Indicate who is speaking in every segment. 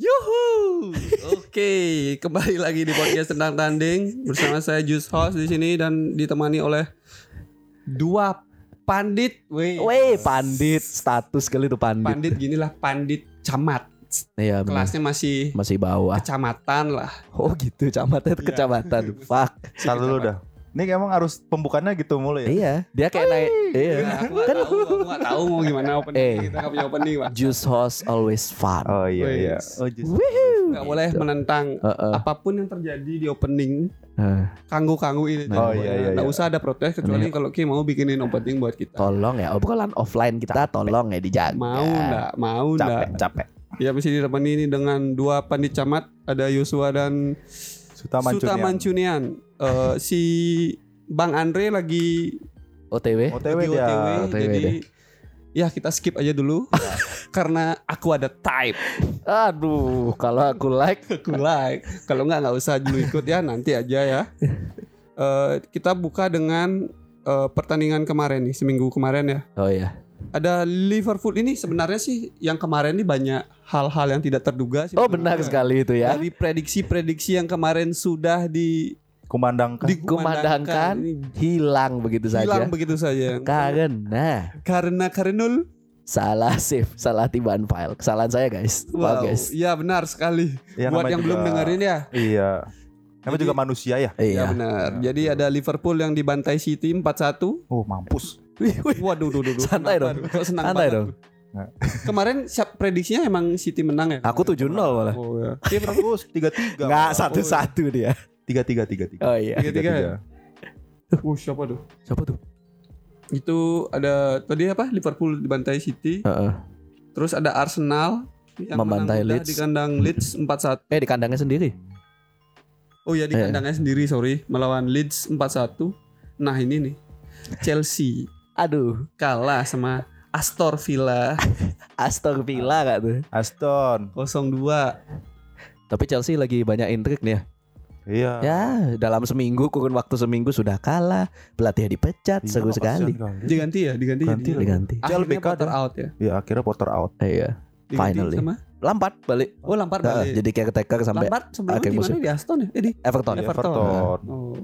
Speaker 1: Yuhu. Oke, kembali lagi di podcast tentang tanding bersama saya Jus Host di sini dan ditemani oleh dua pandit. Wih.
Speaker 2: Weh, pandit status kali itu pandit.
Speaker 1: Pandit ginilah pandit camat.
Speaker 2: Iya, bener.
Speaker 1: Kelasnya masih
Speaker 2: masih bawah.
Speaker 1: kecamatan lah.
Speaker 2: Oh gitu, camatnya itu
Speaker 1: Iya.
Speaker 2: kecamatan. Fuck.
Speaker 3: Ntar dulu dah. Ini emang harus pembukaannya gitu mulu ya.
Speaker 2: Iya, dia kayak naik. Iya.
Speaker 1: Nah, aku gak tahu, aku gak tahu mau gimana opening.
Speaker 2: Eh.
Speaker 1: Kita gak punya opening, Pak.
Speaker 2: Juice host always fun.
Speaker 3: Oh iya iya.
Speaker 1: Wes.
Speaker 3: Oh justru.
Speaker 2: Woohoo.
Speaker 1: Gak boleh menentang
Speaker 2: Heeh.
Speaker 1: apapun yang terjadi di opening
Speaker 2: Heeh.
Speaker 1: kanggu-kanggu ini.
Speaker 2: Nah,
Speaker 3: Oh, iya, iya,
Speaker 1: Nggak
Speaker 3: iya.
Speaker 1: usah ada protes kecuali kalau Ki mau bikinin opening buat kita.
Speaker 2: Tolong ya, oh, bukan offline kita tolong ya dijaga.
Speaker 1: Mau enggak? Mau enggak?
Speaker 3: Capek capek.
Speaker 1: Ya mesti ditemani ini dengan dua pandit camat, ada Yosua dan
Speaker 3: Suta
Speaker 1: Suta
Speaker 3: Mancunian.
Speaker 1: Mancunian. Eh, si Bang Andre lagi
Speaker 2: OTW.
Speaker 3: OTW
Speaker 1: lagi
Speaker 3: dia.
Speaker 1: OTW, jadi ya kita skip aja dulu karena aku ada type.
Speaker 2: Aduh, kalau aku like
Speaker 1: Aku like. Kalau nggak nggak usah dulu ikut ya, nanti aja ya. Eh, kita buka dengan eh, pertandingan kemarin nih, seminggu kemarin ya.
Speaker 2: Oh ya.
Speaker 1: ada Liverpool ini sebenarnya sih yang kemarin ini banyak hal-hal yang tidak terduga sih.
Speaker 2: Oh benar
Speaker 1: Sebenarnya.
Speaker 2: sekali itu ya.
Speaker 1: Dari prediksi-prediksi yang kemarin sudah di
Speaker 3: Kumandangkan.
Speaker 2: Dikumandangkan
Speaker 1: Ini
Speaker 2: hilang begitu
Speaker 1: hilang
Speaker 2: saja.
Speaker 1: begitu saja.
Speaker 2: Karena
Speaker 1: Karena Karenul.
Speaker 2: salah save, salah tibaan file. Kesalahan saya guys. Maaf
Speaker 1: Wow.
Speaker 2: guys.
Speaker 1: Iya benar sekali.
Speaker 3: Ya,
Speaker 1: Buat
Speaker 3: namanya
Speaker 1: yang
Speaker 3: juga-
Speaker 1: belum dengerin ya.
Speaker 3: Iya. Emang
Speaker 1: Jadi-
Speaker 3: juga manusia ya.
Speaker 1: Ya
Speaker 2: Iya.
Speaker 1: benar. Jadi ada Liverpool yang dibantai City 4-1.
Speaker 3: Oh mampus.
Speaker 2: Wih, wih.
Speaker 1: Waduh, duh, duh, duh.
Speaker 2: Santai
Speaker 1: Kenapa
Speaker 2: dong.
Speaker 1: tuh? Kok senang
Speaker 2: Santai
Speaker 1: banget
Speaker 2: dong.
Speaker 1: tuh? Kemarin siap prediksinya emang City menang ya?
Speaker 2: Aku 7-0 malah.
Speaker 1: Oh ya.
Speaker 3: Terus tiga tiga.
Speaker 2: Enggak satu-satu dia.
Speaker 3: Tiga tiga tiga tiga.
Speaker 2: Oh iya.
Speaker 1: Tiga-tiga ya? Uh, siapa tuh?
Speaker 2: Siapa tuh?
Speaker 1: Itu ada tadi apa? Liverpool dibantai City. Terus ada Arsenal yang menang
Speaker 2: Membantai
Speaker 1: mudah
Speaker 2: Leeds.
Speaker 1: di kandang Leeds 4-1.
Speaker 2: Eh di kandangnya sendiri.
Speaker 1: Oh ya di
Speaker 2: Eh.
Speaker 1: kandangnya sendiri sorry melawan Leeds 4-1. Nah ini nih Chelsea
Speaker 2: Aduh,
Speaker 1: kalah sama Astor Villa
Speaker 2: Aston Villa gak tuh?
Speaker 3: Aston.
Speaker 1: 0-2.
Speaker 2: Tapi Chelsea lagi banyak intrik nih ya.
Speaker 1: Ah.
Speaker 3: Iya.
Speaker 2: Ya, dalam seminggu kurun waktu seminggu sudah kalah, pelatih dipecat,
Speaker 3: Iya,
Speaker 2: seru
Speaker 3: kasihan
Speaker 2: sekali.
Speaker 3: kali.
Speaker 1: Diganti ya diganti. jadi.
Speaker 3: Ganti lagi.
Speaker 2: Diganti.
Speaker 1: Akhirnya
Speaker 3: JLBK
Speaker 1: Potter
Speaker 3: dah.
Speaker 1: out ya.
Speaker 3: Iya akhirnya Potter out.
Speaker 2: Iya.
Speaker 1: Diganti
Speaker 2: Finally.
Speaker 1: sama
Speaker 2: Lampard balik.
Speaker 1: Oh Lampard
Speaker 2: Nah,
Speaker 1: balik.
Speaker 2: jadi caretaker sampai
Speaker 1: Lampard sebelumnya
Speaker 2: akhir
Speaker 1: di mana
Speaker 2: musim.
Speaker 1: di Aston ya? Eh di
Speaker 2: Everton.
Speaker 3: Iya,
Speaker 1: Everton.
Speaker 3: Everton.
Speaker 1: Oh,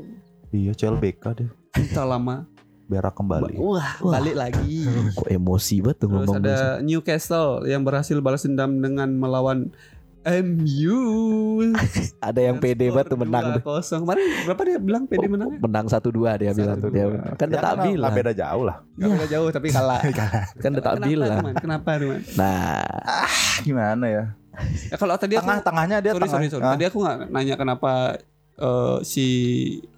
Speaker 3: Iya CLBK deh.
Speaker 1: kita lama.
Speaker 3: Berak kembali.
Speaker 1: Wah, balik lagi.
Speaker 2: Kok emosi banget tuh
Speaker 1: Terus
Speaker 2: ngomong.
Speaker 1: ada Newcastle yang berhasil balas dendam dengan melawan MU.
Speaker 2: Ada yang pede banget tuh menang tuh.
Speaker 1: Kosong. Kemarin berapa dia bilang PD
Speaker 2: Oh,
Speaker 1: menangnya?
Speaker 2: Menang 1-2 dia bilang tuh dia.
Speaker 1: 1-2.
Speaker 2: Kan
Speaker 3: Ya,
Speaker 2: tetap
Speaker 3: nggak- nggak
Speaker 2: bilang.
Speaker 3: beda jauh lah.
Speaker 1: Gak beda jauh tapi kalah.
Speaker 2: iya. Kan tetap
Speaker 1: Kenapa,
Speaker 2: bilang.
Speaker 1: Teman? Kenapa, teman?
Speaker 2: Nah,
Speaker 3: Gimana ya?
Speaker 1: Ya, kalau tadi aku
Speaker 3: Tengah-tengahnya dia
Speaker 1: sorry,
Speaker 3: tengah.
Speaker 1: sorry, sorry.
Speaker 3: Ah,
Speaker 1: Tadi aku nggak nanya kenapa eh, si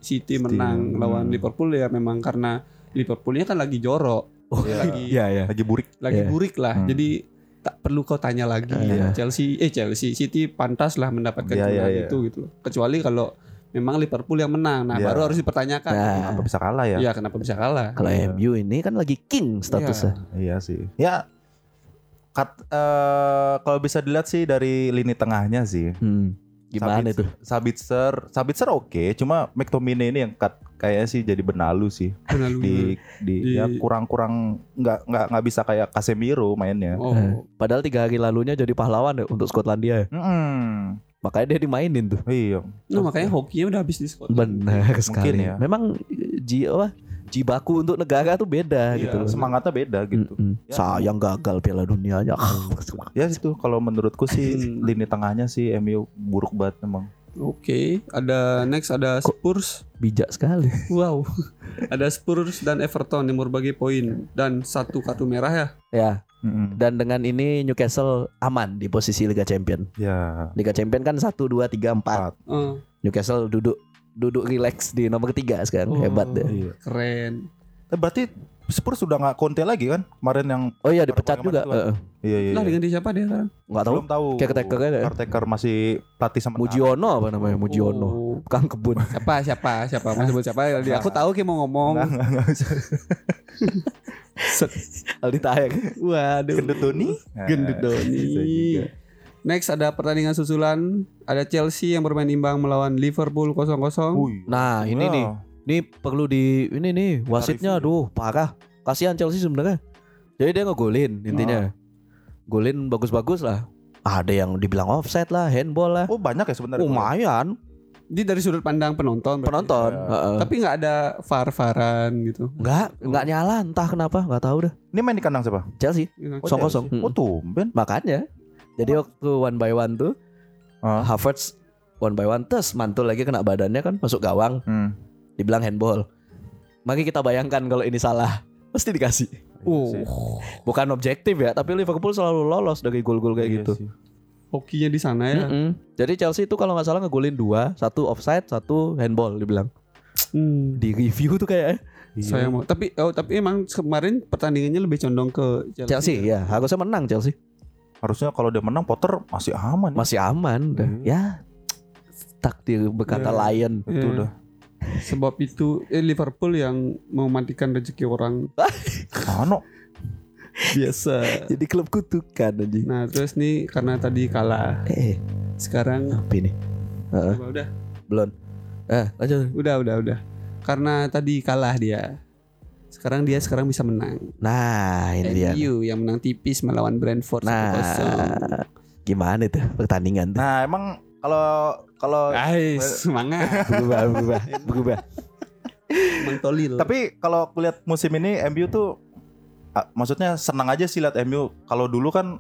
Speaker 1: City menang
Speaker 3: Hmm.
Speaker 1: lawan Liverpool ya memang karena Liverpoolnya kan lagi jorok,
Speaker 2: oh,
Speaker 3: Iya.
Speaker 1: lagi
Speaker 2: iya ya.
Speaker 3: Lagi burik.
Speaker 1: lagi
Speaker 2: Iya.
Speaker 1: burik lah.
Speaker 3: Hmm.
Speaker 1: Jadi tak perlu kau tanya lagi.
Speaker 2: Iya.
Speaker 1: Chelsea eh Chelsea City pantas lah mendapatkan
Speaker 3: Iya,
Speaker 1: kemenangan
Speaker 3: iya, iya.
Speaker 1: itu gitu. loh. Kecuali kalau memang Liverpool yang menang. Nah,
Speaker 3: Iya.
Speaker 1: baru harus dipertanyakan.
Speaker 2: Nah,
Speaker 3: Apa bisa kalah ya?
Speaker 1: Iya, kenapa bisa kalah?
Speaker 2: kalau
Speaker 3: Iya.
Speaker 2: MU ini kan lagi king statusnya.
Speaker 3: Iya sih. Ya kat eh, kalau bisa dilihat sih dari lini tengahnya sih.
Speaker 2: Hmm. Gimana
Speaker 3: Sabit-
Speaker 2: itu?
Speaker 3: Sabitzer, Sabitzer oke, cuma McTominay ini yang kat kayaknya sih jadi benalu sih
Speaker 1: Karena lu-
Speaker 3: di di,
Speaker 1: Iya. Di-
Speaker 3: ya kurang-kurang nggak nggak nggak bisa kayak Casemiro mainnya.
Speaker 1: Oh,
Speaker 2: Eh, Padahal tiga hari lalunya jadi pahlawan ya untuk Skotlandia. ya.
Speaker 3: Mm-mm.
Speaker 2: Makanya dia dimainin tuh.
Speaker 3: Iya.
Speaker 1: nah makanya hokinya udah habis di Scotland.
Speaker 2: Benar sekali.
Speaker 3: ya.
Speaker 2: Memang eh, ji apa jibaku untuk negara tuh beda
Speaker 1: Iya,
Speaker 2: gitu. loh.
Speaker 3: Semangatnya beda gitu.
Speaker 2: Mm-mm.
Speaker 3: Ya.
Speaker 2: Sayang gagal Piala Dunianya. Ah,
Speaker 3: Ya itu kalau menurutku sih
Speaker 1: Hmm.
Speaker 3: lini tengahnya sih MU buruk banget emang.
Speaker 1: Oke, ada next ada Spurs.
Speaker 2: Bijak sekali.
Speaker 1: Wow. ada Spurs dan Everton yang berbagi poin dan satu kartu merah ya.
Speaker 2: Ya,
Speaker 3: Mm-mm.
Speaker 2: dan dengan ini Newcastle aman di posisi Liga Champion.
Speaker 3: Ya.
Speaker 2: Liga Champion kan 1 2 3 4.
Speaker 1: Eh,
Speaker 2: Newcastle duduk duduk relax di nomor ketiga sekarang.
Speaker 1: Oh.
Speaker 2: Hebat deh.
Speaker 3: Iya.
Speaker 1: keren.
Speaker 3: Eh, Berarti Spurs sudah nggak konten lagi kan? Kemarin yang
Speaker 2: Oh iya dipecat
Speaker 3: Kemarin
Speaker 2: juga.
Speaker 3: kemarin
Speaker 2: Heeh.
Speaker 3: iya iya.
Speaker 1: Lah
Speaker 3: iya.
Speaker 1: dengan siapa dia sekarang?
Speaker 2: Enggak tahu.
Speaker 3: Belum tahu.
Speaker 2: Caretaker kan ya?
Speaker 3: Caretaker masih pelatih sama
Speaker 2: Mujiono apa namanya? Mujiono.
Speaker 1: Oh.
Speaker 2: Kang kebun.
Speaker 1: Siapa siapa siapa mau sebut siapa?
Speaker 3: Nah.
Speaker 1: Tadi Aku tahu kayak mau
Speaker 3: Nggak,
Speaker 1: ngomong.
Speaker 3: nggak, nggak bisa.
Speaker 1: Set.
Speaker 2: Aldi Eh, Tahir.
Speaker 1: Waduh.
Speaker 3: Gendut Doni.
Speaker 1: Gendut
Speaker 3: eh, Bisa
Speaker 1: Doni.
Speaker 3: juga.
Speaker 1: Next ada pertandingan susulan, ada Chelsea yang bermain imbang melawan Liverpool 0-0.
Speaker 3: Wuih.
Speaker 2: Nah, ini
Speaker 3: Wah.
Speaker 2: nih. Ini perlu di ini nih wasitnya
Speaker 3: review.
Speaker 2: aduh parah. Kasihan Chelsea sebenarnya. Jadi dia ngegolin intinya. Golin bagus-bagus lah. Ada yang dibilang offset lah, handball lah.
Speaker 3: Oh banyak ya sebenarnya.
Speaker 2: Lumayan
Speaker 1: Ini dari sudut pandang penonton. berarti.
Speaker 2: penonton.
Speaker 3: Iya.
Speaker 2: Heeh.
Speaker 1: Tapi nggak ada far-faran gitu.
Speaker 2: Enggak, enggak nyala entah kenapa, enggak tahu dah.
Speaker 3: Ini main di kandang siapa?
Speaker 2: Chelsea
Speaker 1: Gitu.
Speaker 3: Oh,
Speaker 2: Song kosong.
Speaker 3: Chelsea. Oh tumben.
Speaker 2: makanya. Jadi waktu one by one tuh
Speaker 3: Ah.
Speaker 2: Havertz one by one terus mantul lagi kena badannya kan masuk gawang,
Speaker 3: Hmm.
Speaker 2: dibilang handball. Maka kita bayangkan kalau ini salah pasti dikasih.
Speaker 3: Iya
Speaker 1: Oh,
Speaker 2: Bukan objektif ya, tapi Liverpool selalu lolos dari gol-gol
Speaker 3: Iya
Speaker 2: kayak gitu.
Speaker 1: hokinya di sana ya.
Speaker 2: Mm-mm. Jadi Chelsea itu kalau nggak salah ngegolin dua, satu offside, satu handball dibilang.
Speaker 1: Hmm.
Speaker 2: Di review tuh kayak ya.
Speaker 3: Iya.
Speaker 1: Saya mau. Tapi oh, tapi emang kemarin pertandingannya lebih condong ke Chelsea.
Speaker 2: Chelsea ya harusnya menang Chelsea.
Speaker 3: Harusnya kalau dia menang Potter masih aman. ya.
Speaker 2: Masih aman dah.
Speaker 3: Hmm.
Speaker 2: Ya takdir berkata
Speaker 1: Ya.
Speaker 2: lion. Hmm.
Speaker 3: Itu
Speaker 1: Iya.
Speaker 3: udah.
Speaker 1: Sebab itu eh, Liverpool yang mematikan rezeki orang
Speaker 3: Ano.
Speaker 1: biasa.
Speaker 2: Jadi klub kutukan anjing.
Speaker 1: Nah, terus nih karena tadi kalah.
Speaker 2: Eh, eh,
Speaker 1: Sekarang
Speaker 2: apa ini? Heeh.
Speaker 1: Coba udah,
Speaker 2: Belum. Eh, lanjut.
Speaker 1: udah, udah, udah. Karena tadi kalah dia. Sekarang dia sekarang bisa menang.
Speaker 2: Nah, ini dia.
Speaker 1: MU yang menang tipis melawan Brentford
Speaker 2: Nah,
Speaker 1: 1-0.
Speaker 2: gimana tuh pertandingan tuh?
Speaker 3: Nah emang kalau kalau
Speaker 2: Ah.
Speaker 1: Guys, semangat.
Speaker 2: Berubah, berubah, berubah.
Speaker 1: Mentolil.
Speaker 3: Tapi kalau lihat musim ini MU tuh ah, maksudnya senang aja sih lihat MU. Kalau dulu kan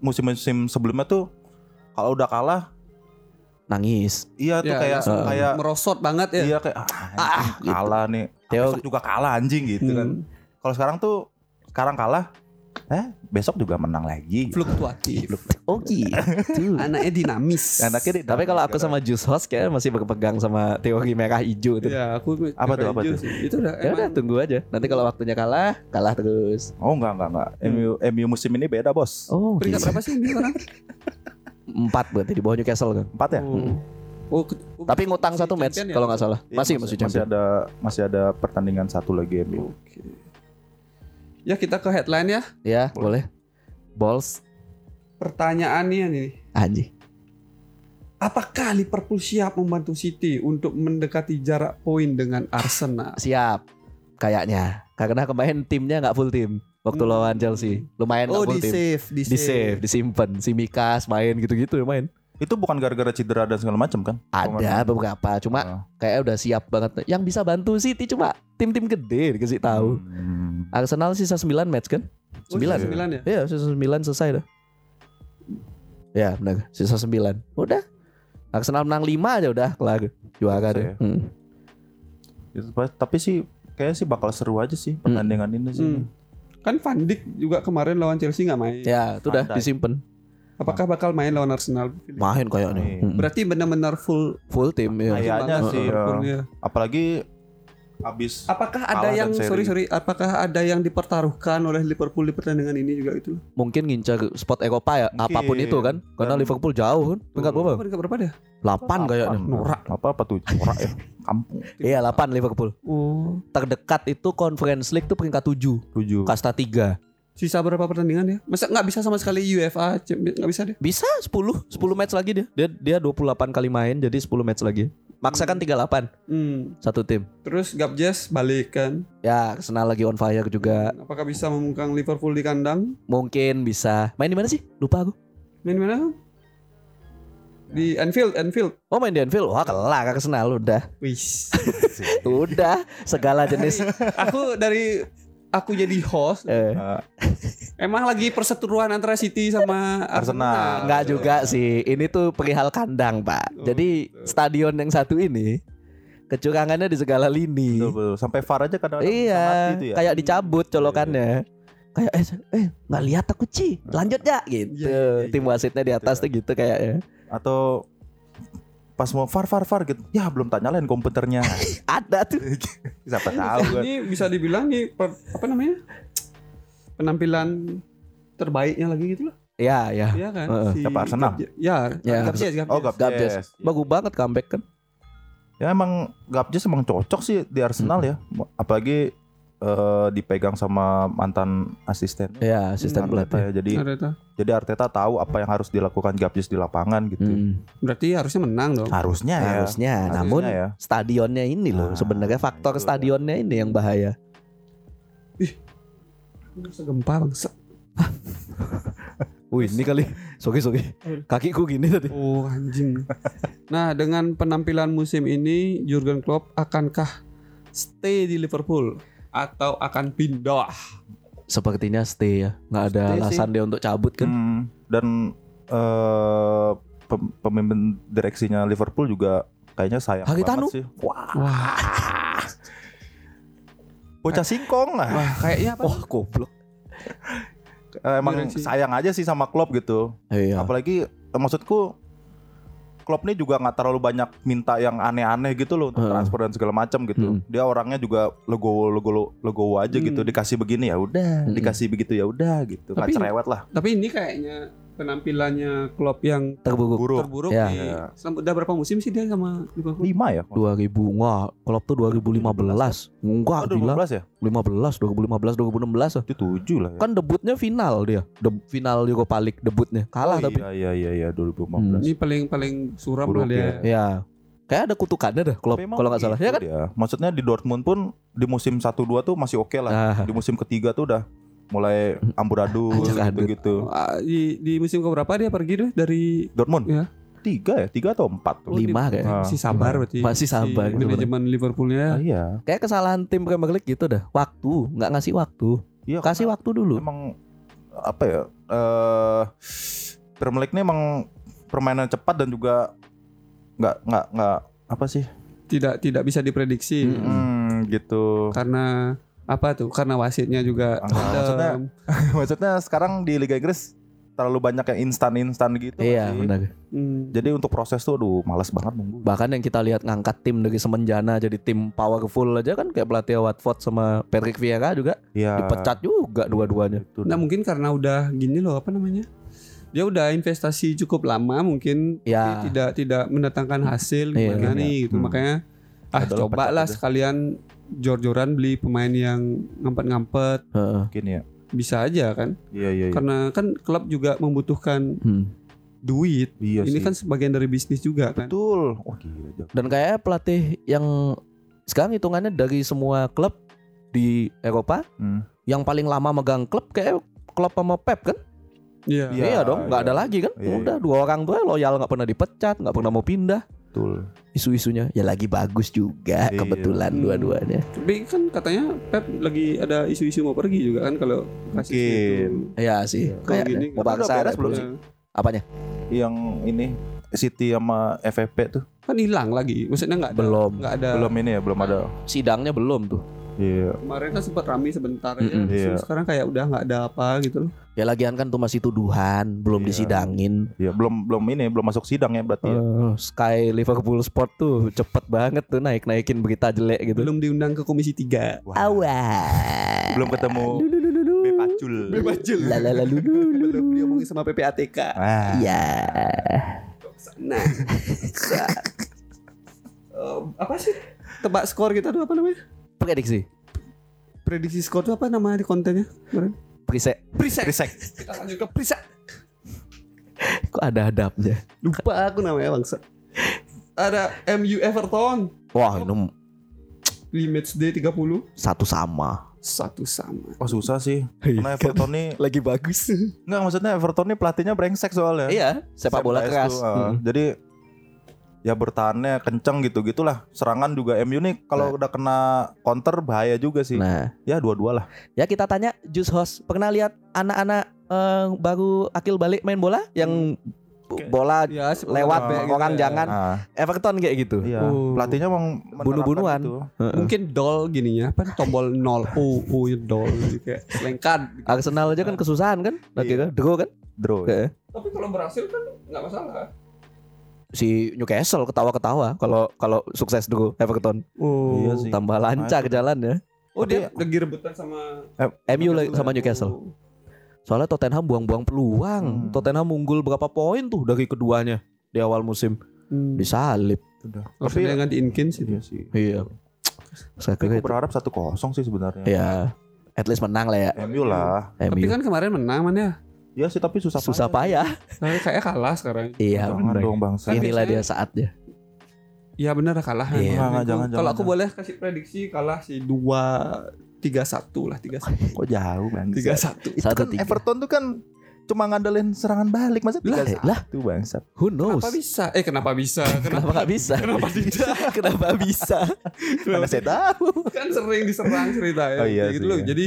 Speaker 3: musim-musim sebelumnya tuh kalau udah kalah
Speaker 2: Nangis.
Speaker 3: iya tuh
Speaker 1: Ya,
Speaker 3: kayak
Speaker 1: langsung
Speaker 3: kayak
Speaker 1: merosot banget ya. kan.
Speaker 3: iya kayak ah, anjing,
Speaker 2: gitu.
Speaker 3: kalah nih.
Speaker 2: Theo-
Speaker 3: Besok juga kalah anjing gitu kan.
Speaker 1: Hmm,
Speaker 3: Kalau sekarang tuh sekarang kalah eh besok juga menang lagi.
Speaker 1: fluktuatif.
Speaker 2: Oke. Tuh.
Speaker 1: Anaknya dinamis.
Speaker 2: Oh
Speaker 3: Anaknya di-
Speaker 2: gitu. Tapi kalau aku sama Juice Host kayaknya masih berpegang sama teori merah hijau tuh.
Speaker 1: Ya, aku
Speaker 3: Apa tuh, apa
Speaker 1: Juice. Itu udah
Speaker 2: Ya udah
Speaker 1: emang
Speaker 2: tunggu aja. Nanti kalau waktunya kalah, kalah terus.
Speaker 3: Oh enggak enggak enggak. MU MU musim ini beda, Bos.
Speaker 2: Hmm. Oh,
Speaker 1: peringkat berapa sih ini orang?
Speaker 2: empat berarti di bawah Newcastle kan.
Speaker 3: Empat ya?
Speaker 1: Oh, ke- oh,
Speaker 2: Tapi ngutang
Speaker 1: masih
Speaker 2: satu match
Speaker 1: Iya. champion ya?
Speaker 2: kalau nggak salah. Masih
Speaker 3: Iya,
Speaker 2: masih
Speaker 3: masih
Speaker 2: champion.
Speaker 3: ada masih ada pertandingan satu lagi MU.
Speaker 1: Oke. Ya kita ke headline ya.
Speaker 2: Ya, boleh. Balls
Speaker 1: Pertanyaannya nih.
Speaker 2: anjing.
Speaker 1: Apakah Liverpool siap membantu City untuk mendekati jarak poin dengan Arsenal?
Speaker 2: Siap. Kayaknya. Karena kemarin timnya nggak full tim waktu
Speaker 1: Hmm.
Speaker 2: lawan Chelsea. Lumayan nggak full tim.
Speaker 1: save, di
Speaker 2: Oh, Di save, disimpan, si Mikas main gitu-gitu ya main.
Speaker 3: Itu bukan gara-gara cedera dan segala macam kan?
Speaker 2: Ada beberapa, cuma
Speaker 3: Ah.
Speaker 2: kayaknya udah siap banget. Yang bisa bantu City cuma tim-tim gede dikasih tahu.
Speaker 3: Hmm.
Speaker 2: Arsenal sisa 9 match kan?
Speaker 1: Oh,
Speaker 2: 9.
Speaker 1: sisa sembilan ya.
Speaker 2: Iya, sisa 9 selesai dah. Ya, benar. Sisa 9. Udah. Arsenal menang 5 aja udah kelar juara
Speaker 3: Selesai
Speaker 2: deh.
Speaker 3: ya.
Speaker 2: Hmm.
Speaker 3: Itu, pa- tapi sih kayaknya sih bakal seru aja sih pertandingan ini sih.
Speaker 1: Hmm. Kan Van Dijk juga kemarin lawan Chelsea nggak main.
Speaker 2: Ya, itu udah
Speaker 3: Pandai.
Speaker 2: disimpen.
Speaker 1: Apakah bakal main lawan Arsenal?
Speaker 2: Main kayaknya.
Speaker 3: Main.
Speaker 2: Hmm.
Speaker 1: Berarti benar-benar full
Speaker 2: Full tim ya.
Speaker 3: Main. Kayaknya
Speaker 1: banget
Speaker 3: sih,
Speaker 1: Liverpool ya.
Speaker 3: Apalagi abis
Speaker 1: Apakah ada
Speaker 3: Kalah dan
Speaker 1: yang
Speaker 3: seri.
Speaker 1: sorry sorry, apakah ada yang dipertaruhkan oleh Liverpool di pertandingan ini juga itu?
Speaker 2: Mungkin ngincar spot Eropa ya,
Speaker 3: Mungkin.
Speaker 2: apapun itu kan. Karena
Speaker 3: Dan-
Speaker 2: Liverpool jauh kan. Peringkat berapa?
Speaker 1: Apa peringkat berapa dia?
Speaker 2: 8 kayaknya.
Speaker 1: Norak.
Speaker 3: apa apa tuh norak ya kampung
Speaker 2: Iya, 8 Liverpool.
Speaker 1: Oh,
Speaker 2: Terdekat itu Conference League tuh peringkat 7,
Speaker 3: tujuh
Speaker 2: kasta 3.
Speaker 1: sisa berapa pertandingan ya? Masa nggak bisa sama sekali UEFA Champions- nggak bisa deh.
Speaker 2: Bisa 10 10 match lagi dia Dia dia 28 kali main Jadi 10 match lagi Maksakan 38
Speaker 1: Hmm.
Speaker 2: Satu tim
Speaker 1: Terus Gabjes balik kan?
Speaker 2: Ya Arsenal lagi on fire juga
Speaker 1: Hmm, Apakah bisa memungkang Liverpool di kandang?
Speaker 2: Mungkin bisa Main di mana sih? Lupa aku
Speaker 1: Main di mana? Di Anfield, Anfield.
Speaker 2: Oh main di Anfield Wah kelak Arsenal Udah
Speaker 1: Wis.
Speaker 2: Udah Segala jenis
Speaker 1: aku dari aku jadi host,
Speaker 2: eh,
Speaker 3: Eh,
Speaker 1: emang lagi perseteruan antara City sama
Speaker 3: Arsenal.
Speaker 1: Arsenal.
Speaker 2: Enggak juga sih Ini tuh perihal kandang pak
Speaker 1: Oh,
Speaker 2: Jadi
Speaker 1: gitu.
Speaker 2: stadion yang satu ini Kecurangannya di segala lini
Speaker 3: betul, betul. sampai far aja kadang-kadang bisa mati
Speaker 2: Iya
Speaker 3: tuh ya.
Speaker 2: Kayak dicabut colokannya Kayak eh, eh nggak lihat aku Ci Lanjut ya
Speaker 1: Iya,
Speaker 2: gitu
Speaker 1: iya, iya.
Speaker 2: Tim wasitnya di atas tuh gitu kayaknya
Speaker 3: atau pas mau far far far gitu ya belum tak nyalain komputernya
Speaker 2: ada tuh
Speaker 3: siapa tahu kan
Speaker 1: Ini bisa dibilang nih per- apa namanya? Penampilan terbaiknya lagi gitu loh.
Speaker 2: ya ya
Speaker 1: Iya kan?
Speaker 2: Heeh.
Speaker 1: Si
Speaker 3: Siapa, Arsenal?
Speaker 1: Gabje- Ya,
Speaker 2: Ya.
Speaker 1: Gabjes, Gabjes.
Speaker 3: oh gap
Speaker 2: Gabjes. bagus banget comeback kan
Speaker 3: ya emang Gapjes emang cocok sih di Arsenal ya apalagi eh, dipegang sama mantan asistennya
Speaker 2: ya asisten
Speaker 1: Hmm.
Speaker 2: pelatih
Speaker 3: Arteta ya. jadi
Speaker 1: Ternyata.
Speaker 3: jadi Arteta tahu apa yang harus dilakukan Gapjes di lapangan gitu
Speaker 2: Hmm.
Speaker 1: Berarti harusnya menang dong.
Speaker 3: harusnya ya
Speaker 2: harusnya
Speaker 3: Harusnya
Speaker 2: namun
Speaker 3: ya.
Speaker 2: stadionnya ini loh
Speaker 3: Nah,
Speaker 2: sebenarnya faktor
Speaker 3: itu.
Speaker 2: stadionnya ini yang bahaya
Speaker 1: Gempa bangsa.
Speaker 2: Wih, ini kali. Sogi sogi. Kakiku gini tadi.
Speaker 1: Oh anjing. Nah dengan penampilan musim ini Jurgen Klopp akankah stay di Liverpool atau akan pindah?
Speaker 2: Sepertinya stay ya. Nggak ada
Speaker 1: Stay sih.
Speaker 2: alasan dia untuk cabut kan.
Speaker 3: Hmm, dan eh, pem- pemimpin direksinya Liverpool juga kayaknya sayang
Speaker 2: Haritano.
Speaker 3: banget sih. Wah,
Speaker 1: Wah,
Speaker 3: bocah singkong lah.
Speaker 1: wah kayaknya apa?
Speaker 2: Wah, goblok.
Speaker 3: Eh, Emang
Speaker 1: direksi.
Speaker 3: sayang aja sih sama Klopp gitu.
Speaker 2: kan Iya.
Speaker 3: Apalagi eh, maksudku Klopp nih juga nggak terlalu banyak minta yang aneh-aneh gitu loh untuk
Speaker 2: Heeh.
Speaker 3: transfer dan segala macam gitu.
Speaker 2: Hmm.
Speaker 3: Dia orangnya juga legowo legowo legowo aja gitu.
Speaker 1: Hmm.
Speaker 3: Dikasih begini ya udah,
Speaker 2: Hmm.
Speaker 3: dikasih begitu ya udah gitu. Nggak
Speaker 1: Tapi-
Speaker 3: cerewet lah.
Speaker 1: Tapi ini kayaknya penampilannya Klopp yang
Speaker 2: Terbukuk.
Speaker 3: Buruk.
Speaker 1: terburuk
Speaker 2: Ya.
Speaker 1: di selama- udah berapa musim sih dia sama Liverpool?
Speaker 3: Lima ya.
Speaker 2: 2000 enggak, klub tuh 2015. Enggak,
Speaker 3: Oh,
Speaker 2: gila.
Speaker 3: 2015 ya?
Speaker 2: 15, 2015, 2016 lah.
Speaker 3: Itu tujuh lah ya.
Speaker 2: Kan debutnya final dia. De- final Europa League debutnya. Kalah
Speaker 3: Oh,
Speaker 2: tapi. Hmm.
Speaker 3: Iya iya iya iya 2015.
Speaker 1: Ini paling paling suram lah
Speaker 3: Buruk
Speaker 1: dia.
Speaker 3: ya.
Speaker 2: Ya. Kayak ada kutukannya dah klub
Speaker 3: Tapi emang
Speaker 2: kalau nggak salah.
Speaker 3: gitu
Speaker 2: Ya kan?
Speaker 3: dia. Maksudnya di Dortmund pun di musim 1 2 tuh masih oke lah.
Speaker 2: Nah,
Speaker 3: Di musim ketiga tuh udah mulai amburadul
Speaker 2: Amburadul.
Speaker 3: gitu-gitu.
Speaker 1: Ah, Di, di musim keberapa dia pergi deh dari
Speaker 3: Dortmund?
Speaker 1: Iya.
Speaker 3: Tiga ya? Tiga atau empat tuh?
Speaker 1: Oh, di-
Speaker 2: lima kayak.
Speaker 3: Ah.
Speaker 1: masih sabar berarti
Speaker 2: Masih sabar
Speaker 1: si
Speaker 2: gitu
Speaker 1: manajemen
Speaker 3: Ah,
Speaker 1: Liverpoolnya
Speaker 3: iya.
Speaker 2: Kayak kesalahan tim Premier League gitu dah. Waktu, nggak ngasih waktu.
Speaker 3: Iya.
Speaker 2: Kasih
Speaker 3: karena
Speaker 2: waktu dulu.
Speaker 3: Emang apa ya? Eh Premier League ini emang permainan cepat dan juga nggak nggak nggak apa sih?
Speaker 1: tidak tidak bisa diprediksi
Speaker 2: Mm-mm.
Speaker 3: Hmm, gitu.
Speaker 1: karena apa tuh karena wasitnya juga
Speaker 3: Ah, maksudnya
Speaker 1: dalam.
Speaker 3: maksudnya sekarang di Liga Inggris terlalu banyak yang instan-instan gitu. nggak
Speaker 2: Iya,
Speaker 3: sih?
Speaker 2: benar.
Speaker 1: Hmm.
Speaker 3: Jadi untuk proses tuh aduh males banget nunggu.
Speaker 2: Bahkan yang kita lihat ngangkat tim dari semenjana jadi tim powerful aja kan kayak pelatih Watford sama Patrick Vieira juga
Speaker 3: Iya.
Speaker 2: dipecat juga dua-duanya.
Speaker 3: Itu
Speaker 1: nah mungkin karena udah gini loh apa namanya dia udah investasi cukup lama mungkin
Speaker 2: Ya.
Speaker 1: tapi tidak tidak mendatangkan hasil
Speaker 2: Iya,
Speaker 1: gimana nih
Speaker 3: iya.
Speaker 1: gitu
Speaker 3: Hmm. gitu.
Speaker 1: makanya ah
Speaker 3: Adalah
Speaker 1: cobalah
Speaker 3: pecat aja.
Speaker 1: sekalian jor-joran beli pemain yang ngampet-ngampet
Speaker 2: Heeh.
Speaker 3: mungkin ya.
Speaker 1: bisa aja kan
Speaker 3: Iya iya iya.
Speaker 1: karena kan klub juga membutuhkan
Speaker 2: Hmm.
Speaker 1: duit
Speaker 3: Iya
Speaker 1: ini
Speaker 3: sih.
Speaker 1: kan sebagian dari bisnis juga kan
Speaker 3: betul. Oh gila. Jack.
Speaker 2: Dan kayaknya pelatih yang sekarang hitungannya dari semua klub di Eropa
Speaker 3: Hmm.
Speaker 2: yang paling lama megang klub kayak klub sama Pep kan?
Speaker 1: Iya.
Speaker 3: Iya,
Speaker 2: iya dong, nggak
Speaker 3: iya.
Speaker 2: ada lagi kan?
Speaker 3: Iya,
Speaker 2: Udah dua orang tuh loyal nggak pernah dipecat, nggak pernah mau pindah.
Speaker 3: Betul.
Speaker 2: Isu-isunya ya lagi bagus juga
Speaker 3: Iya.
Speaker 2: kebetulan
Speaker 1: Hmm.
Speaker 2: dua-duanya.
Speaker 1: Tapi kan katanya Pep lagi ada isu-isu mau pergi juga kan kalau kasusnya
Speaker 3: Mungkin.
Speaker 1: itu.
Speaker 2: Iya sih,
Speaker 1: Kalau
Speaker 2: kayak
Speaker 1: gini,
Speaker 3: tapi udah
Speaker 2: bangsa
Speaker 3: beres belum
Speaker 1: Ya.
Speaker 3: sih?
Speaker 2: Apanya?
Speaker 3: Yang ini City sama FFP tuh
Speaker 1: Kan hilang lagi. Maksudnya nggak ada
Speaker 2: Belum.
Speaker 1: nggak ada.
Speaker 3: belum ini ya belum ada.
Speaker 2: Sidangnya belum tuh.
Speaker 3: Iya.
Speaker 1: Kemarin kan sempat rame sebentar ya.
Speaker 2: Mm-mm.
Speaker 1: terus
Speaker 3: Iya.
Speaker 1: Sekarang kayak udah nggak ada apa gitu loh.
Speaker 2: Ya lagian kan tuh masih tuduhan, belum
Speaker 3: Iya.
Speaker 2: disidangin.
Speaker 3: Iya belum belum ini belum masuk sidang ya berarti. ya.
Speaker 2: Eh, Sky Liverpool Sport tuh cepet banget tuh naik-naikin berita jelek gitu.
Speaker 1: Belum diundang ke komisi 3.
Speaker 3: Wah,
Speaker 2: Awal.
Speaker 3: Belum ketemu B Pacul.
Speaker 1: Bebacul.
Speaker 2: La la la lu lu lu lu.
Speaker 1: Belum diomongin sama PPATK.
Speaker 3: Ah.
Speaker 2: Iya.
Speaker 1: Nah. Eh, apa sih? Tebak skor kita tuh apa namanya?
Speaker 2: Prediksi.
Speaker 1: Prediksi skor tuh apa namanya di kontennya? Kemarin?
Speaker 2: Preset.
Speaker 1: Prisek.
Speaker 3: Risek.
Speaker 1: Kita lanjut ke Prisek.
Speaker 2: Kok ada hadapnya?
Speaker 1: Lupa aku namanya bangsa. Ada MU Everton.
Speaker 2: Wah, ini
Speaker 1: Limits D 30
Speaker 2: satu sama.
Speaker 1: satu sama.
Speaker 3: Oh susah sih. Karena Everton
Speaker 2: Iya.
Speaker 3: nih
Speaker 2: Lagi bagus.
Speaker 3: enggak maksudnya Everton nih pelatihnya brengsek soalnya.
Speaker 2: Iya, sepak bola
Speaker 3: Sampaes
Speaker 2: keras.
Speaker 3: tuh, uh,
Speaker 2: Mm.
Speaker 3: Jadi ya bertahannya kenceng gitu gitulah. Serangan juga MU nih kalau udah kena counter bahaya juga sih.
Speaker 2: Nah,
Speaker 3: Ya dua-dua lah.
Speaker 2: ya kita tanya Jus Host, pernah lihat anak-anak eh, baru akil balik main bola yang
Speaker 3: Kayak- iya,
Speaker 2: bola
Speaker 1: Ya,
Speaker 2: lewat
Speaker 3: Kayak gitu
Speaker 2: orang jangan
Speaker 3: Nah,
Speaker 2: Everton kayak gitu.
Speaker 3: iya.
Speaker 1: Oh.
Speaker 3: Pelatihnya emang menerapkan
Speaker 2: Bunuh-bunuan.
Speaker 3: gitu.
Speaker 1: Mungkin doll gininya apa tombol nol U U nya doll gitu kayak selengkat.
Speaker 2: Arsenal aja
Speaker 3: Ah.
Speaker 2: kan kesusahan kan?
Speaker 3: Iya.
Speaker 2: Akhirnya draw kan?
Speaker 3: Draw. ya,
Speaker 2: Kayak-
Speaker 1: Tapi kalau berhasil kan nggak masalah.
Speaker 2: si Newcastle ketawa-ketawa kalau kalau sukses dulu Everton Uh,
Speaker 1: Oh.
Speaker 3: Iya sih.
Speaker 2: tambah lancar ke jalan ya.
Speaker 1: Oh dia lagi rebutan sama ya?
Speaker 2: MU lagi
Speaker 3: ya.
Speaker 2: sama Newcastle. Soalnya Tottenham buang-buang peluang.
Speaker 3: Hmm.
Speaker 2: Tottenham unggul berapa poin tuh dari keduanya di awal musim
Speaker 1: Hmm.
Speaker 2: disalip.
Speaker 3: Udah.
Speaker 1: Tapi
Speaker 3: Tapi
Speaker 1: dengan Inkins itu.
Speaker 3: iya sih.
Speaker 2: Iya. Saya
Speaker 3: Tapi
Speaker 2: kira
Speaker 3: aku
Speaker 2: itu.
Speaker 3: berharap 1-0 sih sebenarnya.
Speaker 2: Ya, at least menang lah ya.
Speaker 3: MU lah.
Speaker 1: Tapi
Speaker 2: MU.
Speaker 1: kan kemarin menang man ya.
Speaker 3: Ya sih tapi susah
Speaker 2: susah payah.
Speaker 1: Nah, kayak kalah sekarang.
Speaker 2: Iya,
Speaker 3: Jangan
Speaker 2: bener.
Speaker 3: dong bangsa.
Speaker 1: Kan
Speaker 2: Inilah
Speaker 1: biasanya-
Speaker 2: dia saatnya.
Speaker 1: Ya benar kalah.
Speaker 2: Iya.
Speaker 1: Aku-
Speaker 3: Jangan,
Speaker 1: Kalau
Speaker 3: jangan,
Speaker 1: aku
Speaker 3: jangan, jangan.
Speaker 1: boleh kasih prediksi kalah si dua tiga satu lah tiga satu
Speaker 3: Kok jauh bangsa.
Speaker 1: tiga satu.
Speaker 3: Itu
Speaker 2: Satu
Speaker 3: kan
Speaker 2: tiga.
Speaker 3: Everton tuh kan cuma ngandelin serangan balik masa
Speaker 2: Lah,
Speaker 3: tiga
Speaker 2: lah.
Speaker 3: satu bangsat.
Speaker 2: Who knows?
Speaker 1: Kenapa bisa? Eh kenapa bisa?
Speaker 2: Kenapa nggak bisa?
Speaker 1: Kenapa tidak?
Speaker 2: Kenapa bisa?
Speaker 3: Mana saya tahu?
Speaker 1: kan sering diserang cerita ya.
Speaker 3: Oh, iya
Speaker 1: Kayak gitu
Speaker 3: sih,
Speaker 1: loh.
Speaker 3: iya. Hmm.
Speaker 1: Jadi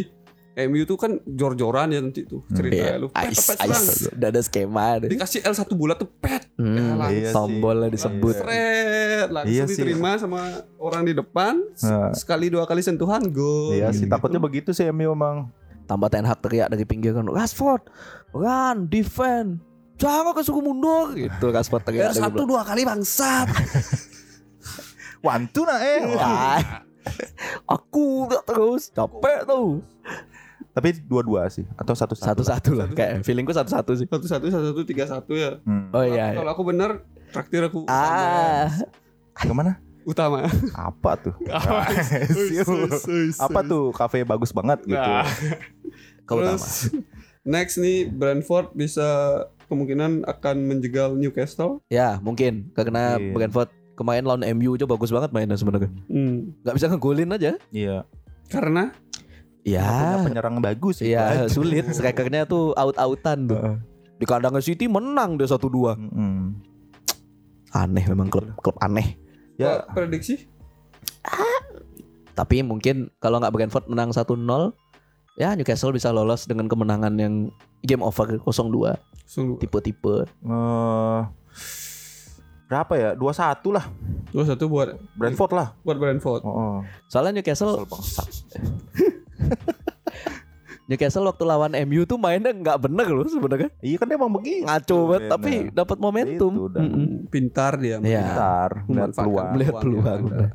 Speaker 1: MU tuh kan jor-joran ya nanti tuh ceritanya
Speaker 2: Iya,
Speaker 1: lu. Pet,
Speaker 2: Ice,
Speaker 1: pet, serang.
Speaker 2: ice, udah ada skema deh.
Speaker 1: Dikasih L satu bulat tuh pet.
Speaker 2: Hmm,
Speaker 1: Elah,
Speaker 3: iya sih.
Speaker 2: tombolnya disebut.
Speaker 1: Seret, langsung
Speaker 3: Iya sih.
Speaker 1: diterima sama orang di depan. Se-
Speaker 3: Nah.
Speaker 1: Sekali dua kali sentuhan gol.
Speaker 3: Iya sih
Speaker 1: Gitu.
Speaker 3: takutnya begitu sih MU emang.
Speaker 2: Tambah Ten Hag teriak dari pinggir kan, Rashford, run, defend, jangan kesuku mundur gitu Rashford
Speaker 1: L
Speaker 2: teriak. dari
Speaker 1: satu
Speaker 2: belakang.
Speaker 1: dua kali bangsat.
Speaker 3: Wantu nah eh.
Speaker 2: Wah, aku udah terus capek tuh.
Speaker 3: Tapi dua-dua sih atau satu-satu.
Speaker 2: Satu-satu lah, kayak feelingku satu-satu sih.
Speaker 1: satu satu satu satu tiga satu ya.
Speaker 3: Hmm.
Speaker 2: Oh iya. iya.
Speaker 1: Kalau aku benar traktir aku
Speaker 2: Ah,
Speaker 3: Kemana?
Speaker 1: utama.
Speaker 3: Apa tuh?
Speaker 1: Us, us, us,
Speaker 3: Iya
Speaker 1: us.
Speaker 3: Apa tuh kafe bagus banget gitu.
Speaker 1: Nah.
Speaker 2: kalau
Speaker 1: Terus next nih Brentford bisa kemungkinan akan menjegal Newcastle.
Speaker 2: Ya mungkin karena
Speaker 3: Iya.
Speaker 2: Brentford kemarin lawan MU aja bagus banget mainnya sebenarnya.
Speaker 1: Hmm.
Speaker 2: Gak bisa ngegolin aja.
Speaker 3: Iya.
Speaker 1: Karena
Speaker 3: Punya
Speaker 2: Ya,
Speaker 3: penyerang bagus itu
Speaker 2: ya
Speaker 3: aja.
Speaker 2: sulit. Strikernya tuh out-outan tuh.
Speaker 3: Heeh.
Speaker 2: Di kandangnya City menang dia 1-2.
Speaker 3: Mm-mm.
Speaker 2: Aneh memang klub klub aneh.
Speaker 1: ya
Speaker 3: Ya.
Speaker 1: prediksi
Speaker 2: Tapi mungkin kalau nggak Brentford menang 1-0, ya Newcastle bisa lolos dengan kemenangan yang game over 0-2
Speaker 1: sungguh
Speaker 2: tipe-tipe.
Speaker 3: eh, berapa ya? 21 lah.
Speaker 1: dua satu buat
Speaker 3: Brentford lah.
Speaker 1: buat Brentford.
Speaker 3: Oh,
Speaker 2: Soalnya Newcastle Newcastle waktu lawan MU tuh mainnya nggak bener loh sebenarnya.
Speaker 3: Iya kan emang begitu.
Speaker 2: Ngaco banget
Speaker 3: Bener.
Speaker 2: tapi dapat momentum.
Speaker 3: Itu dah.
Speaker 2: Mm-mm.
Speaker 1: Pintar dia.
Speaker 2: Iya.
Speaker 3: Bentar, lihat
Speaker 1: Memanfaatkan
Speaker 3: peluang.
Speaker 2: Melihat
Speaker 1: Peluang
Speaker 2: peluang.
Speaker 1: yang ada.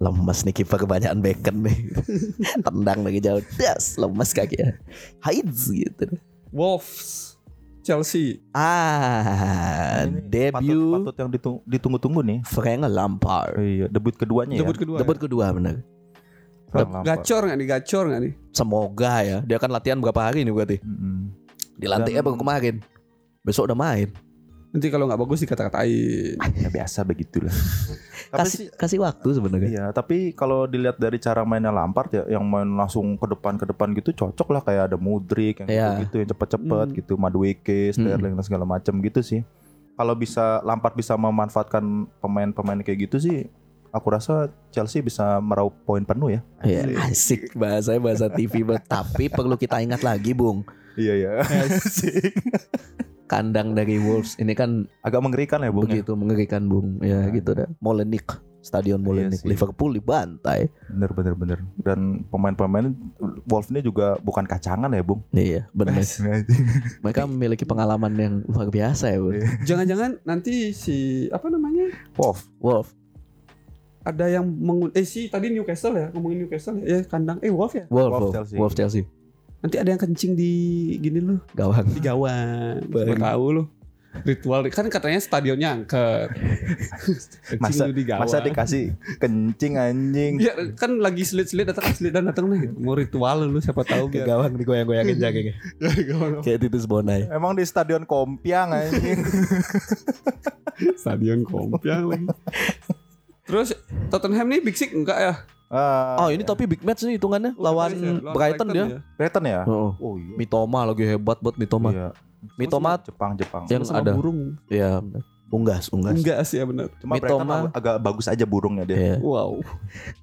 Speaker 2: Lemes nih kiper kebanyakan bacon nih. Tendang lagi jauh. Das, lemes kakinya. Haiz gitu.
Speaker 1: Wolves Chelsea.
Speaker 2: Ah,
Speaker 3: Ini Patut,
Speaker 2: debut
Speaker 3: patut yang ditung- ditunggu-tunggu nih.
Speaker 2: Frank Lampard.
Speaker 3: Iya, debut keduanya
Speaker 1: Debut
Speaker 3: ya.
Speaker 1: kedua.
Speaker 2: Debut kedua bener.
Speaker 3: Frank Lampard.
Speaker 1: Gacor nggak nih? Gacor nggak nih?
Speaker 2: Semoga ya. Dia kan latihan berapa hari nih berarti?
Speaker 3: Mm-mm.
Speaker 2: Di lantai
Speaker 3: Dan-
Speaker 2: apa kemarin? Besok udah main.
Speaker 1: Nanti kalau nggak bagus dikata-katain.
Speaker 3: Ya biasa begitulah. tapi sih
Speaker 2: Kasih kasih waktu sebenarnya.
Speaker 3: Iya, tapi kalau dilihat dari cara mainnya Lampard ya, yang main langsung ke depan ke depan gitu cocok lah kayak ada Mudrik yang
Speaker 2: Iya.
Speaker 3: gitu yang cepet-cepet
Speaker 1: Hmm.
Speaker 3: gitu, Madueke, Sterling dan segala macam gitu sih. Kalau bisa Lampard bisa memanfaatkan pemain-pemain kayak gitu sih, aku rasa Chelsea bisa meraup poin penuh ya.
Speaker 2: Iya, asik bahasa bahasa TV banget. Tapi perlu kita ingat lagi, Bung.
Speaker 3: Iya ya.
Speaker 2: Kandang dari Wolves ini kan
Speaker 3: Agak mengerikan ya, Bung. ya?
Speaker 2: begitu mengerikan, Bung. Ya,
Speaker 3: Nah. Iya
Speaker 2: gitu dah. Molenik, Stadion Molenik,
Speaker 3: sih.
Speaker 2: Liverpool dibantai.
Speaker 3: Bener bener bener. Dan pemain-pemain Wolf ini juga bukan kacangan ya, Bung.
Speaker 2: Iya, benar. Mereka memiliki pengalaman yang luar biasa ya, Bung.
Speaker 3: Iya.
Speaker 1: Jangan-jangan nanti si apa namanya
Speaker 3: Wolf.
Speaker 2: Wolf.
Speaker 1: ada yang mengun eh si tadi Newcastle ya ngomongin Newcastle ya, ya kandang eh Wolf ya
Speaker 2: Wolf,
Speaker 3: Wolf
Speaker 2: Wolf,
Speaker 3: Chelsea.
Speaker 2: Wolf Chelsea.
Speaker 1: nanti ada yang kencing di gini loh
Speaker 2: Gawang.
Speaker 1: di gawang Gak
Speaker 2: Bang.
Speaker 1: tahu loh ritual kan katanya stadionnya angker kencing
Speaker 3: Masa-
Speaker 1: lu di gawang
Speaker 3: Masa dikasih kencing anjing.
Speaker 2: Iya.
Speaker 1: ya kan lagi selit-selit datang selit dan datang nih mau ritual lu siapa tahu biar
Speaker 2: gawang
Speaker 3: Iya.
Speaker 2: digoyang-goyangin jagengnya.
Speaker 1: Gawang.
Speaker 2: Kayak Titus Bonai.
Speaker 3: Emang di stadion Kompiang anjing.
Speaker 1: stadion kompiang lagi terus Tottenham nih Big Six enggak ya
Speaker 3: Ah,
Speaker 2: Oh, ini tapi big match nih hitungannya iya, lawan
Speaker 1: Paris ya?
Speaker 2: Brighton dia.
Speaker 1: ya?
Speaker 3: Brighton ya?
Speaker 2: Heeh.
Speaker 3: Oh iya.
Speaker 2: Mitoma lagi hebat buat Mitoma.
Speaker 3: Iya.
Speaker 2: Mitoma
Speaker 3: Jepang Jepang.
Speaker 2: yang
Speaker 1: sama
Speaker 2: ada.
Speaker 1: burung
Speaker 2: Ya, bener. unggas, unggas.
Speaker 1: enggak sih ya benar
Speaker 3: Cuma Brighton
Speaker 2: Mitoma.
Speaker 3: ag- agak bagus aja burungnya dia.
Speaker 2: Iya.
Speaker 1: wow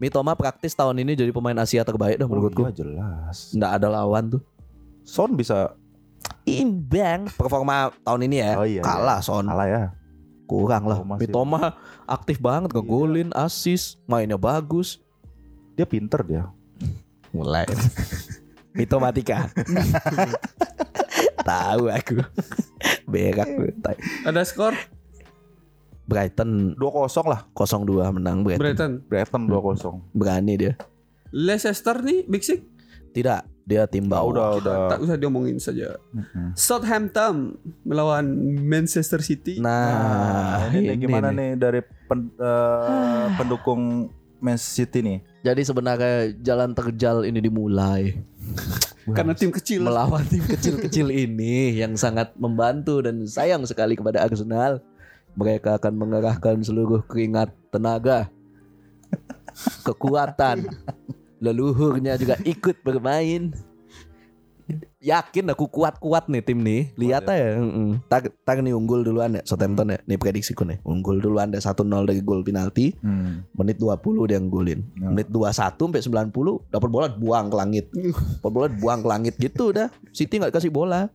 Speaker 2: Mitoma praktis tahun ini jadi pemain Asia terbaik dah menurutku.
Speaker 3: Oh, iya, jelas.
Speaker 2: Nggak ada lawan tuh.
Speaker 3: Son bisa
Speaker 2: Imbang performa tahun ini ya.
Speaker 3: Oh, iya,
Speaker 2: kalah Son.
Speaker 3: kalah ya.
Speaker 2: Kurang lah.
Speaker 3: Mitoma sih.
Speaker 2: Mitoma aktif banget ngegolin, asis, mainnya bagus.
Speaker 3: Dia pinter dia.
Speaker 2: Mulai. Mitomatika. Tahu aku. Berak gue, tai.
Speaker 1: ada skor
Speaker 2: Brighton
Speaker 3: 2-0 lah
Speaker 2: 0-2 menang Brighton.
Speaker 1: Brighton
Speaker 3: Brighton
Speaker 2: Hmm.
Speaker 3: 2-0.
Speaker 2: Berani dia.
Speaker 1: Leicester nih Big Six
Speaker 2: Tidak, dia tim
Speaker 3: Nah,
Speaker 2: bawah.
Speaker 3: udah udah.
Speaker 1: tak usah diomongin saja.
Speaker 3: Mm-mm.
Speaker 1: Southampton melawan Manchester City.
Speaker 2: Nah,
Speaker 3: Nah, ini, nih gimana nih, dari pen- eh, pendukung Man City nih?
Speaker 2: Jadi sebenarnya jalan terjal ini dimulai
Speaker 3: Kan
Speaker 1: karena tim kecil.
Speaker 2: melawan tim kecil-kecil ini yang sangat membantu dan sayang sekali kepada Arsenal. Mereka akan mengerahkan seluruh keringat, tenaga, kekuatan, leluhurnya juga ikut bermain yakin aku kuat-kuat nih tim nih. Lihat
Speaker 3: Kuat
Speaker 2: aja. heeh. Tag, tag nih unggul duluan ya Southampton ya. Nih prediksiku nih. Unggul duluan deh 1-0 dari gol penalti.
Speaker 3: Hmm.
Speaker 2: Menit 20 dia nggolin.
Speaker 3: Ya.
Speaker 2: Menit 21 sampai 90 dapat bola buang ke langit. Dapat bola buang ke langit gitu udah. City nggak kasih bola.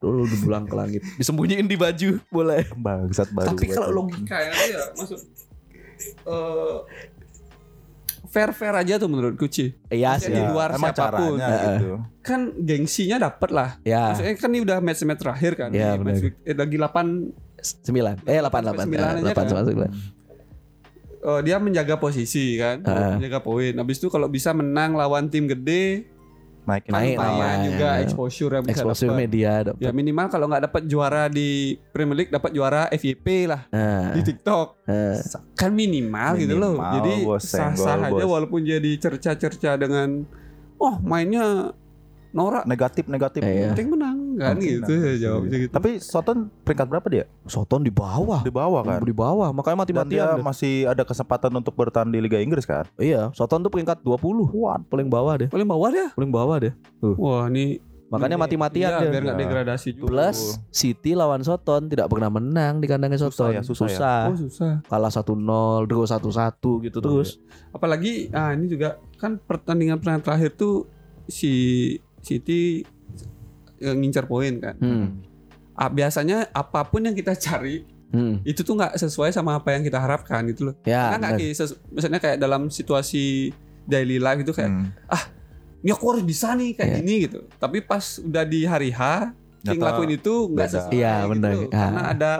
Speaker 2: Dulu dibuang ke langit. Disembunyiin di baju bola.
Speaker 3: Bangsat baru.
Speaker 2: Tapi kalau
Speaker 3: baru.
Speaker 2: logika
Speaker 1: Kayaknya ya maksud eh, fair fair aja tuh menurut Kuci.
Speaker 2: Iya
Speaker 1: Jadi
Speaker 2: sih.
Speaker 1: di luar
Speaker 3: emang
Speaker 1: siapapun.
Speaker 3: caranya
Speaker 2: Heeh.
Speaker 3: gitu.
Speaker 1: Kan gengsinya dapet lah.
Speaker 2: Ya,
Speaker 1: Maksudnya kan ini udah match match terakhir kan.
Speaker 2: Iya,
Speaker 1: Ini match
Speaker 2: benar.
Speaker 1: week- eh, lagi 8
Speaker 2: 9. Eh 8 8.
Speaker 1: Sembilan aja
Speaker 2: 8
Speaker 1: kan? eh, dia menjaga posisi kan,
Speaker 2: Ah.
Speaker 1: menjaga poin. Habis itu kalau bisa menang lawan tim gede,
Speaker 3: Naikin
Speaker 1: kan
Speaker 2: Naik
Speaker 1: lumayan
Speaker 2: lawan,
Speaker 1: juga
Speaker 2: ya.
Speaker 1: exposure yang bisa
Speaker 2: Exposure
Speaker 1: dapat.
Speaker 2: media dapat.
Speaker 1: Ya minimal kalau nggak dapat juara di Premier League dapat juara FYP lah
Speaker 2: Nah,
Speaker 1: di TikTok.
Speaker 2: eh,
Speaker 1: kan minimal, gitu loh
Speaker 3: Minimal,
Speaker 1: jadi
Speaker 3: bos,
Speaker 1: sah
Speaker 3: senggol,
Speaker 1: sah aja
Speaker 3: bos.
Speaker 1: walaupun jadi cerca-cerca dengan oh mainnya norak
Speaker 3: negatif negatif.
Speaker 2: Eh, iya.
Speaker 1: yang penting menang kan
Speaker 3: Penting
Speaker 1: gitu
Speaker 3: menang, iya.
Speaker 1: ya
Speaker 3: pasti.
Speaker 1: jawabnya gitu
Speaker 3: Tapi Soton peringkat berapa dia?
Speaker 2: Soton di bawah.
Speaker 3: Di bawah kan.
Speaker 2: Di bawah, makanya
Speaker 3: Dan dia
Speaker 2: mati-matian. deh.
Speaker 3: masih ada kesempatan untuk bertahan di Liga Inggris kan?
Speaker 2: Iya, Soton tuh peringkat 20. Wah, paling bawah deh.
Speaker 1: paling bawah ya
Speaker 2: Paling bawah deh.
Speaker 1: wah ini
Speaker 2: Makanya
Speaker 1: ini-
Speaker 2: mati-matian
Speaker 1: iya,
Speaker 2: dia.
Speaker 1: biar nggak
Speaker 3: Nah.
Speaker 1: degradasi juga
Speaker 2: Plus City lawan Soton tidak pernah menang di kandangnya
Speaker 3: Susah
Speaker 2: Soton.
Speaker 3: ya, susah ya.
Speaker 2: Ah.
Speaker 1: oh susah
Speaker 2: Kalah 1-0, draw 1-1 gitu terus.
Speaker 1: apalagi ah ini juga kan pertandingan pertandingan terakhir tuh si City eh, ngincar poin kan
Speaker 2: Hmm.
Speaker 1: Ah, biasanya apapun yang kita cari
Speaker 2: Hmm.
Speaker 1: itu tuh nggak sesuai sama apa yang kita harapkan gitu loh
Speaker 2: Ya,
Speaker 1: Karena nggak
Speaker 2: bener.
Speaker 1: kayak sesu- misalnya kayak dalam situasi daily life itu kayak
Speaker 3: Hmm.
Speaker 1: ini aku harus bisa nih kayak
Speaker 2: Iya.
Speaker 1: gini gitu tapi pas udah di hari H
Speaker 3: Nyata
Speaker 1: King lakuin itu nggak
Speaker 3: beda.
Speaker 1: sesuai
Speaker 2: Iya,
Speaker 1: gitu
Speaker 2: benar.
Speaker 1: loh.
Speaker 2: Ah.
Speaker 1: karena ada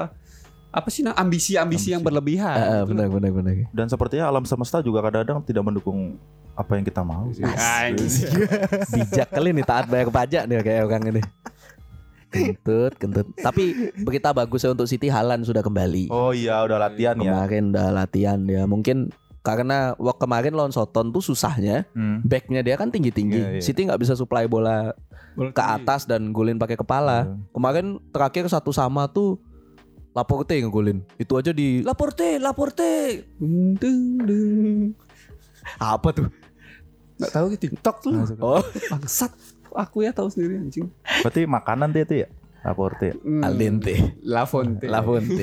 Speaker 1: apa sih nah ambisi-ambisi yang
Speaker 3: Ambisi.
Speaker 1: berlebihan
Speaker 2: Eh, eh,
Speaker 1: gitu
Speaker 2: bener,
Speaker 1: loh.
Speaker 2: bener, bener.
Speaker 3: Dan sepertinya alam semesta juga kadang-kadang tidak mendukung apa yang kita mau.
Speaker 1: Iya, Anjing.
Speaker 2: bijak kali nih taat bayar pajak nih kayak orang ini kentut kentut tapi berita bagus ya untuk City Halan sudah kembali
Speaker 3: Oh iya, udah latihan ya.
Speaker 2: kemarin udah latihan ya mungkin karena waktu kemarin lawan Soton tuh susahnya
Speaker 3: Hmm.
Speaker 2: backnya dia kan tinggi tinggi
Speaker 3: Iya, iya.
Speaker 2: City nggak bisa supply bola
Speaker 1: Bola
Speaker 2: ke
Speaker 1: tinggi.
Speaker 2: atas dan golin pakai
Speaker 3: Iya.
Speaker 2: kepala kemarin terakhir satu sama tuh Laporte ngegolin itu aja di Laporte Laporte
Speaker 1: Dung, dung, dung.
Speaker 2: apa tuh
Speaker 1: nggak tahu gitu TikTok tuh
Speaker 3: kan.
Speaker 2: oh
Speaker 1: bangsat aku ya tahu sendiri anjing
Speaker 3: Berarti makanan dia itu ya? Laporte. ya?
Speaker 1: Hmm.
Speaker 2: Al dente
Speaker 1: La Fonte
Speaker 2: Laporte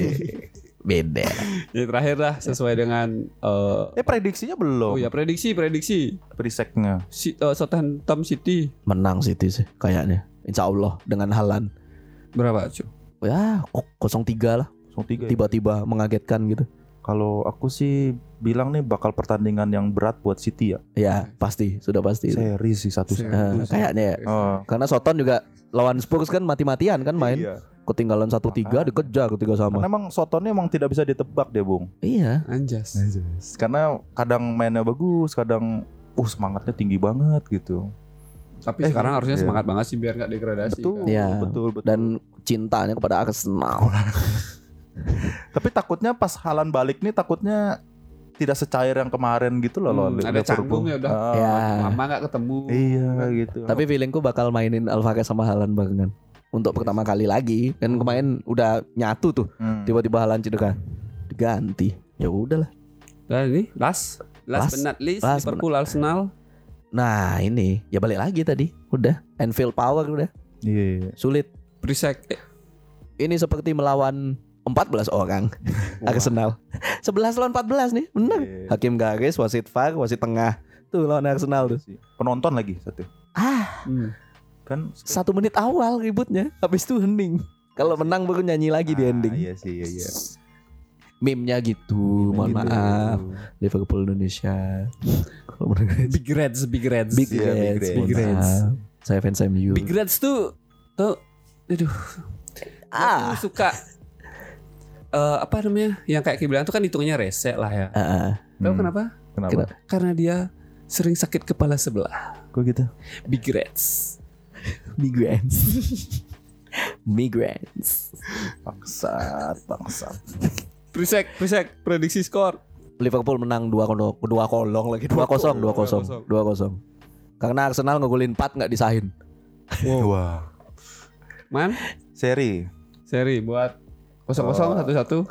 Speaker 2: beda
Speaker 1: Ya, terakhir lah sesuai dengan eh,
Speaker 3: Eh prediksinya
Speaker 1: oh
Speaker 3: belum.
Speaker 1: ya prediksi prediksi
Speaker 3: Preseknya.
Speaker 1: si, eh, Southampton City
Speaker 2: menang City sih kayaknya Insya Allah dengan Halan
Speaker 1: berapa cuy
Speaker 2: ya kok 03 lah
Speaker 3: Langsung tiga. ya?
Speaker 2: tiba-tiba mengagetkan gitu
Speaker 3: Kalau aku sih bilang nih bakal pertandingan yang berat buat City ya.
Speaker 2: ya pasti sudah
Speaker 1: Iya.
Speaker 2: pasti itu.
Speaker 3: Seri sih satu
Speaker 1: Seri.
Speaker 3: seri.
Speaker 2: Eh, kayaknya ya
Speaker 3: Oh.
Speaker 2: karena Soton juga lawan Spurs kan mati-matian kan main
Speaker 3: Iya.
Speaker 2: ketinggalan 1-3
Speaker 3: Makanya.
Speaker 2: dikejar ketiga sama
Speaker 3: Karena emang Sotonnya emang tidak bisa ditebak deh, Bung.
Speaker 2: iya
Speaker 1: anjas
Speaker 3: Eh. Karena kadang mainnya bagus, kadang uh semangatnya tinggi banget gitu.
Speaker 1: Tapi
Speaker 3: Eh,
Speaker 1: sekarang
Speaker 3: kan-
Speaker 1: harusnya
Speaker 3: iya.
Speaker 1: semangat banget sih biar nggak degradasi.
Speaker 3: Betul,
Speaker 1: kan.
Speaker 2: Iya.
Speaker 3: betul, betul.
Speaker 2: dan cintanya kepada Arsenal
Speaker 3: Tapi takutnya pas halan balik nih takutnya tidak secair yang kemarin gitu loh
Speaker 1: Hmm,
Speaker 3: loh.
Speaker 1: ada canggung ya udah.
Speaker 3: Ah,
Speaker 2: ya
Speaker 1: Lama nggak ketemu.
Speaker 3: Iya gitu.
Speaker 2: tapi feelingku bakal mainin Alvarez sama Halan barengan untuk pertama kali lagi kan kemarin udah nyatu tuh
Speaker 3: Hmm.
Speaker 2: tiba-tiba Halan cedera diganti ya udahlah
Speaker 1: Dan ini last, last,
Speaker 2: Last,
Speaker 1: but not least
Speaker 2: last
Speaker 1: Liverpool Arsenal.
Speaker 2: nah ini ya balik lagi tadi udah Anfield Power udah
Speaker 3: Iya. iya.
Speaker 2: sulit
Speaker 1: Prisek eh,
Speaker 2: ini seperti melawan 14 orang
Speaker 1: Wah.
Speaker 2: Arsenal 11 lawan 14 nih bener
Speaker 3: Iya.
Speaker 2: Hakim garis wasit VAR wasit tengah tuh lawan Arsenal tuh
Speaker 3: iya Penonton lagi satu.
Speaker 2: ah
Speaker 1: hmm.
Speaker 3: Kan
Speaker 2: satu menit awal ributnya habis itu hening kalau menang baru nyanyi lagi di
Speaker 3: Ah,
Speaker 2: ending
Speaker 3: Iya sih, iya iya.
Speaker 2: meme-nya gitu mohon
Speaker 3: Gitu.
Speaker 2: maaf Liverpool Indonesia Kalau menang-
Speaker 1: Big Reds, Big Reds.
Speaker 2: Big
Speaker 3: Iya, Big
Speaker 2: Reds
Speaker 3: Reds.
Speaker 2: mohon
Speaker 1: Big Reds.
Speaker 2: maaf. saya fans MU
Speaker 1: Big Reds tuh tuh aduh,
Speaker 2: ah
Speaker 1: aku suka eh, apa namanya? Yang kayak Ki bilang tuh kan hitungnya rese lah ya.
Speaker 2: Ah, ah.
Speaker 1: Tahu
Speaker 3: Hmm,
Speaker 1: kenapa?
Speaker 3: Kenapa?
Speaker 1: Karena dia sering sakit kepala sebelah.
Speaker 3: Kok gitu?
Speaker 1: Big Reds.
Speaker 2: migrants migrants
Speaker 3: Bangsat, bangsat.
Speaker 1: Prisek, Prisek, prediksi skor.
Speaker 2: Liverpool menang 2 kolong, 2 kolong lagi 2 kosong 2 kosong 2 kosong karena Arsenal ngegolin 4 nggak disahin
Speaker 3: Wah.
Speaker 1: Man,
Speaker 3: Seri.
Speaker 1: seri buat
Speaker 3: Oh.
Speaker 1: 0-0 1-1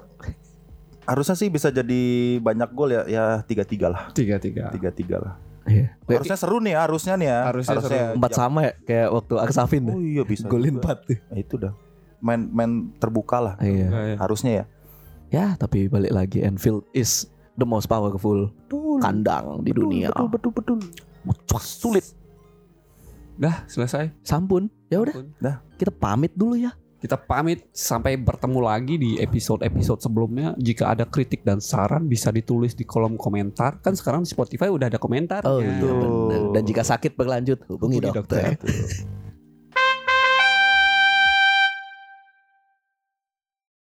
Speaker 3: Harusnya sih bisa jadi banyak gol ya, ya tiga tiga lah,
Speaker 1: 3-3.
Speaker 3: tiga tiga lah.
Speaker 2: Iya. Kayak
Speaker 3: Harusnya seru nih, harusnya nih ya.
Speaker 1: Harusnya seru.
Speaker 2: Empat sama ya kayak waktu Aksafin tuh.
Speaker 3: Oh iya bisa.
Speaker 2: Golin
Speaker 3: juga.
Speaker 2: empat tuh.
Speaker 3: Nah, itu dah. Main main terbuka lah.
Speaker 2: Iya.
Speaker 1: Iya, iya.
Speaker 3: Harusnya ya.
Speaker 2: Ya tapi balik lagi Anfield is the most powerful
Speaker 1: Kan
Speaker 2: kandang di dunia.
Speaker 3: Betul betul betul.
Speaker 2: Mucak, Sulit.
Speaker 1: Dah selesai.
Speaker 2: Sampun. Ya udah
Speaker 1: Ampun.
Speaker 2: kita pamit dulu ya.
Speaker 1: Kita pamit sampai bertemu lagi di episode-episode sebelumnya. Jika ada kritik dan saran bisa ditulis di kolom komentar. Kan sekarang Spotify udah ada komentar.
Speaker 2: iya. Oh iya bener. Dan jika sakit berlanjut hubungi
Speaker 1: Hubungi
Speaker 2: dokter.
Speaker 3: Betul.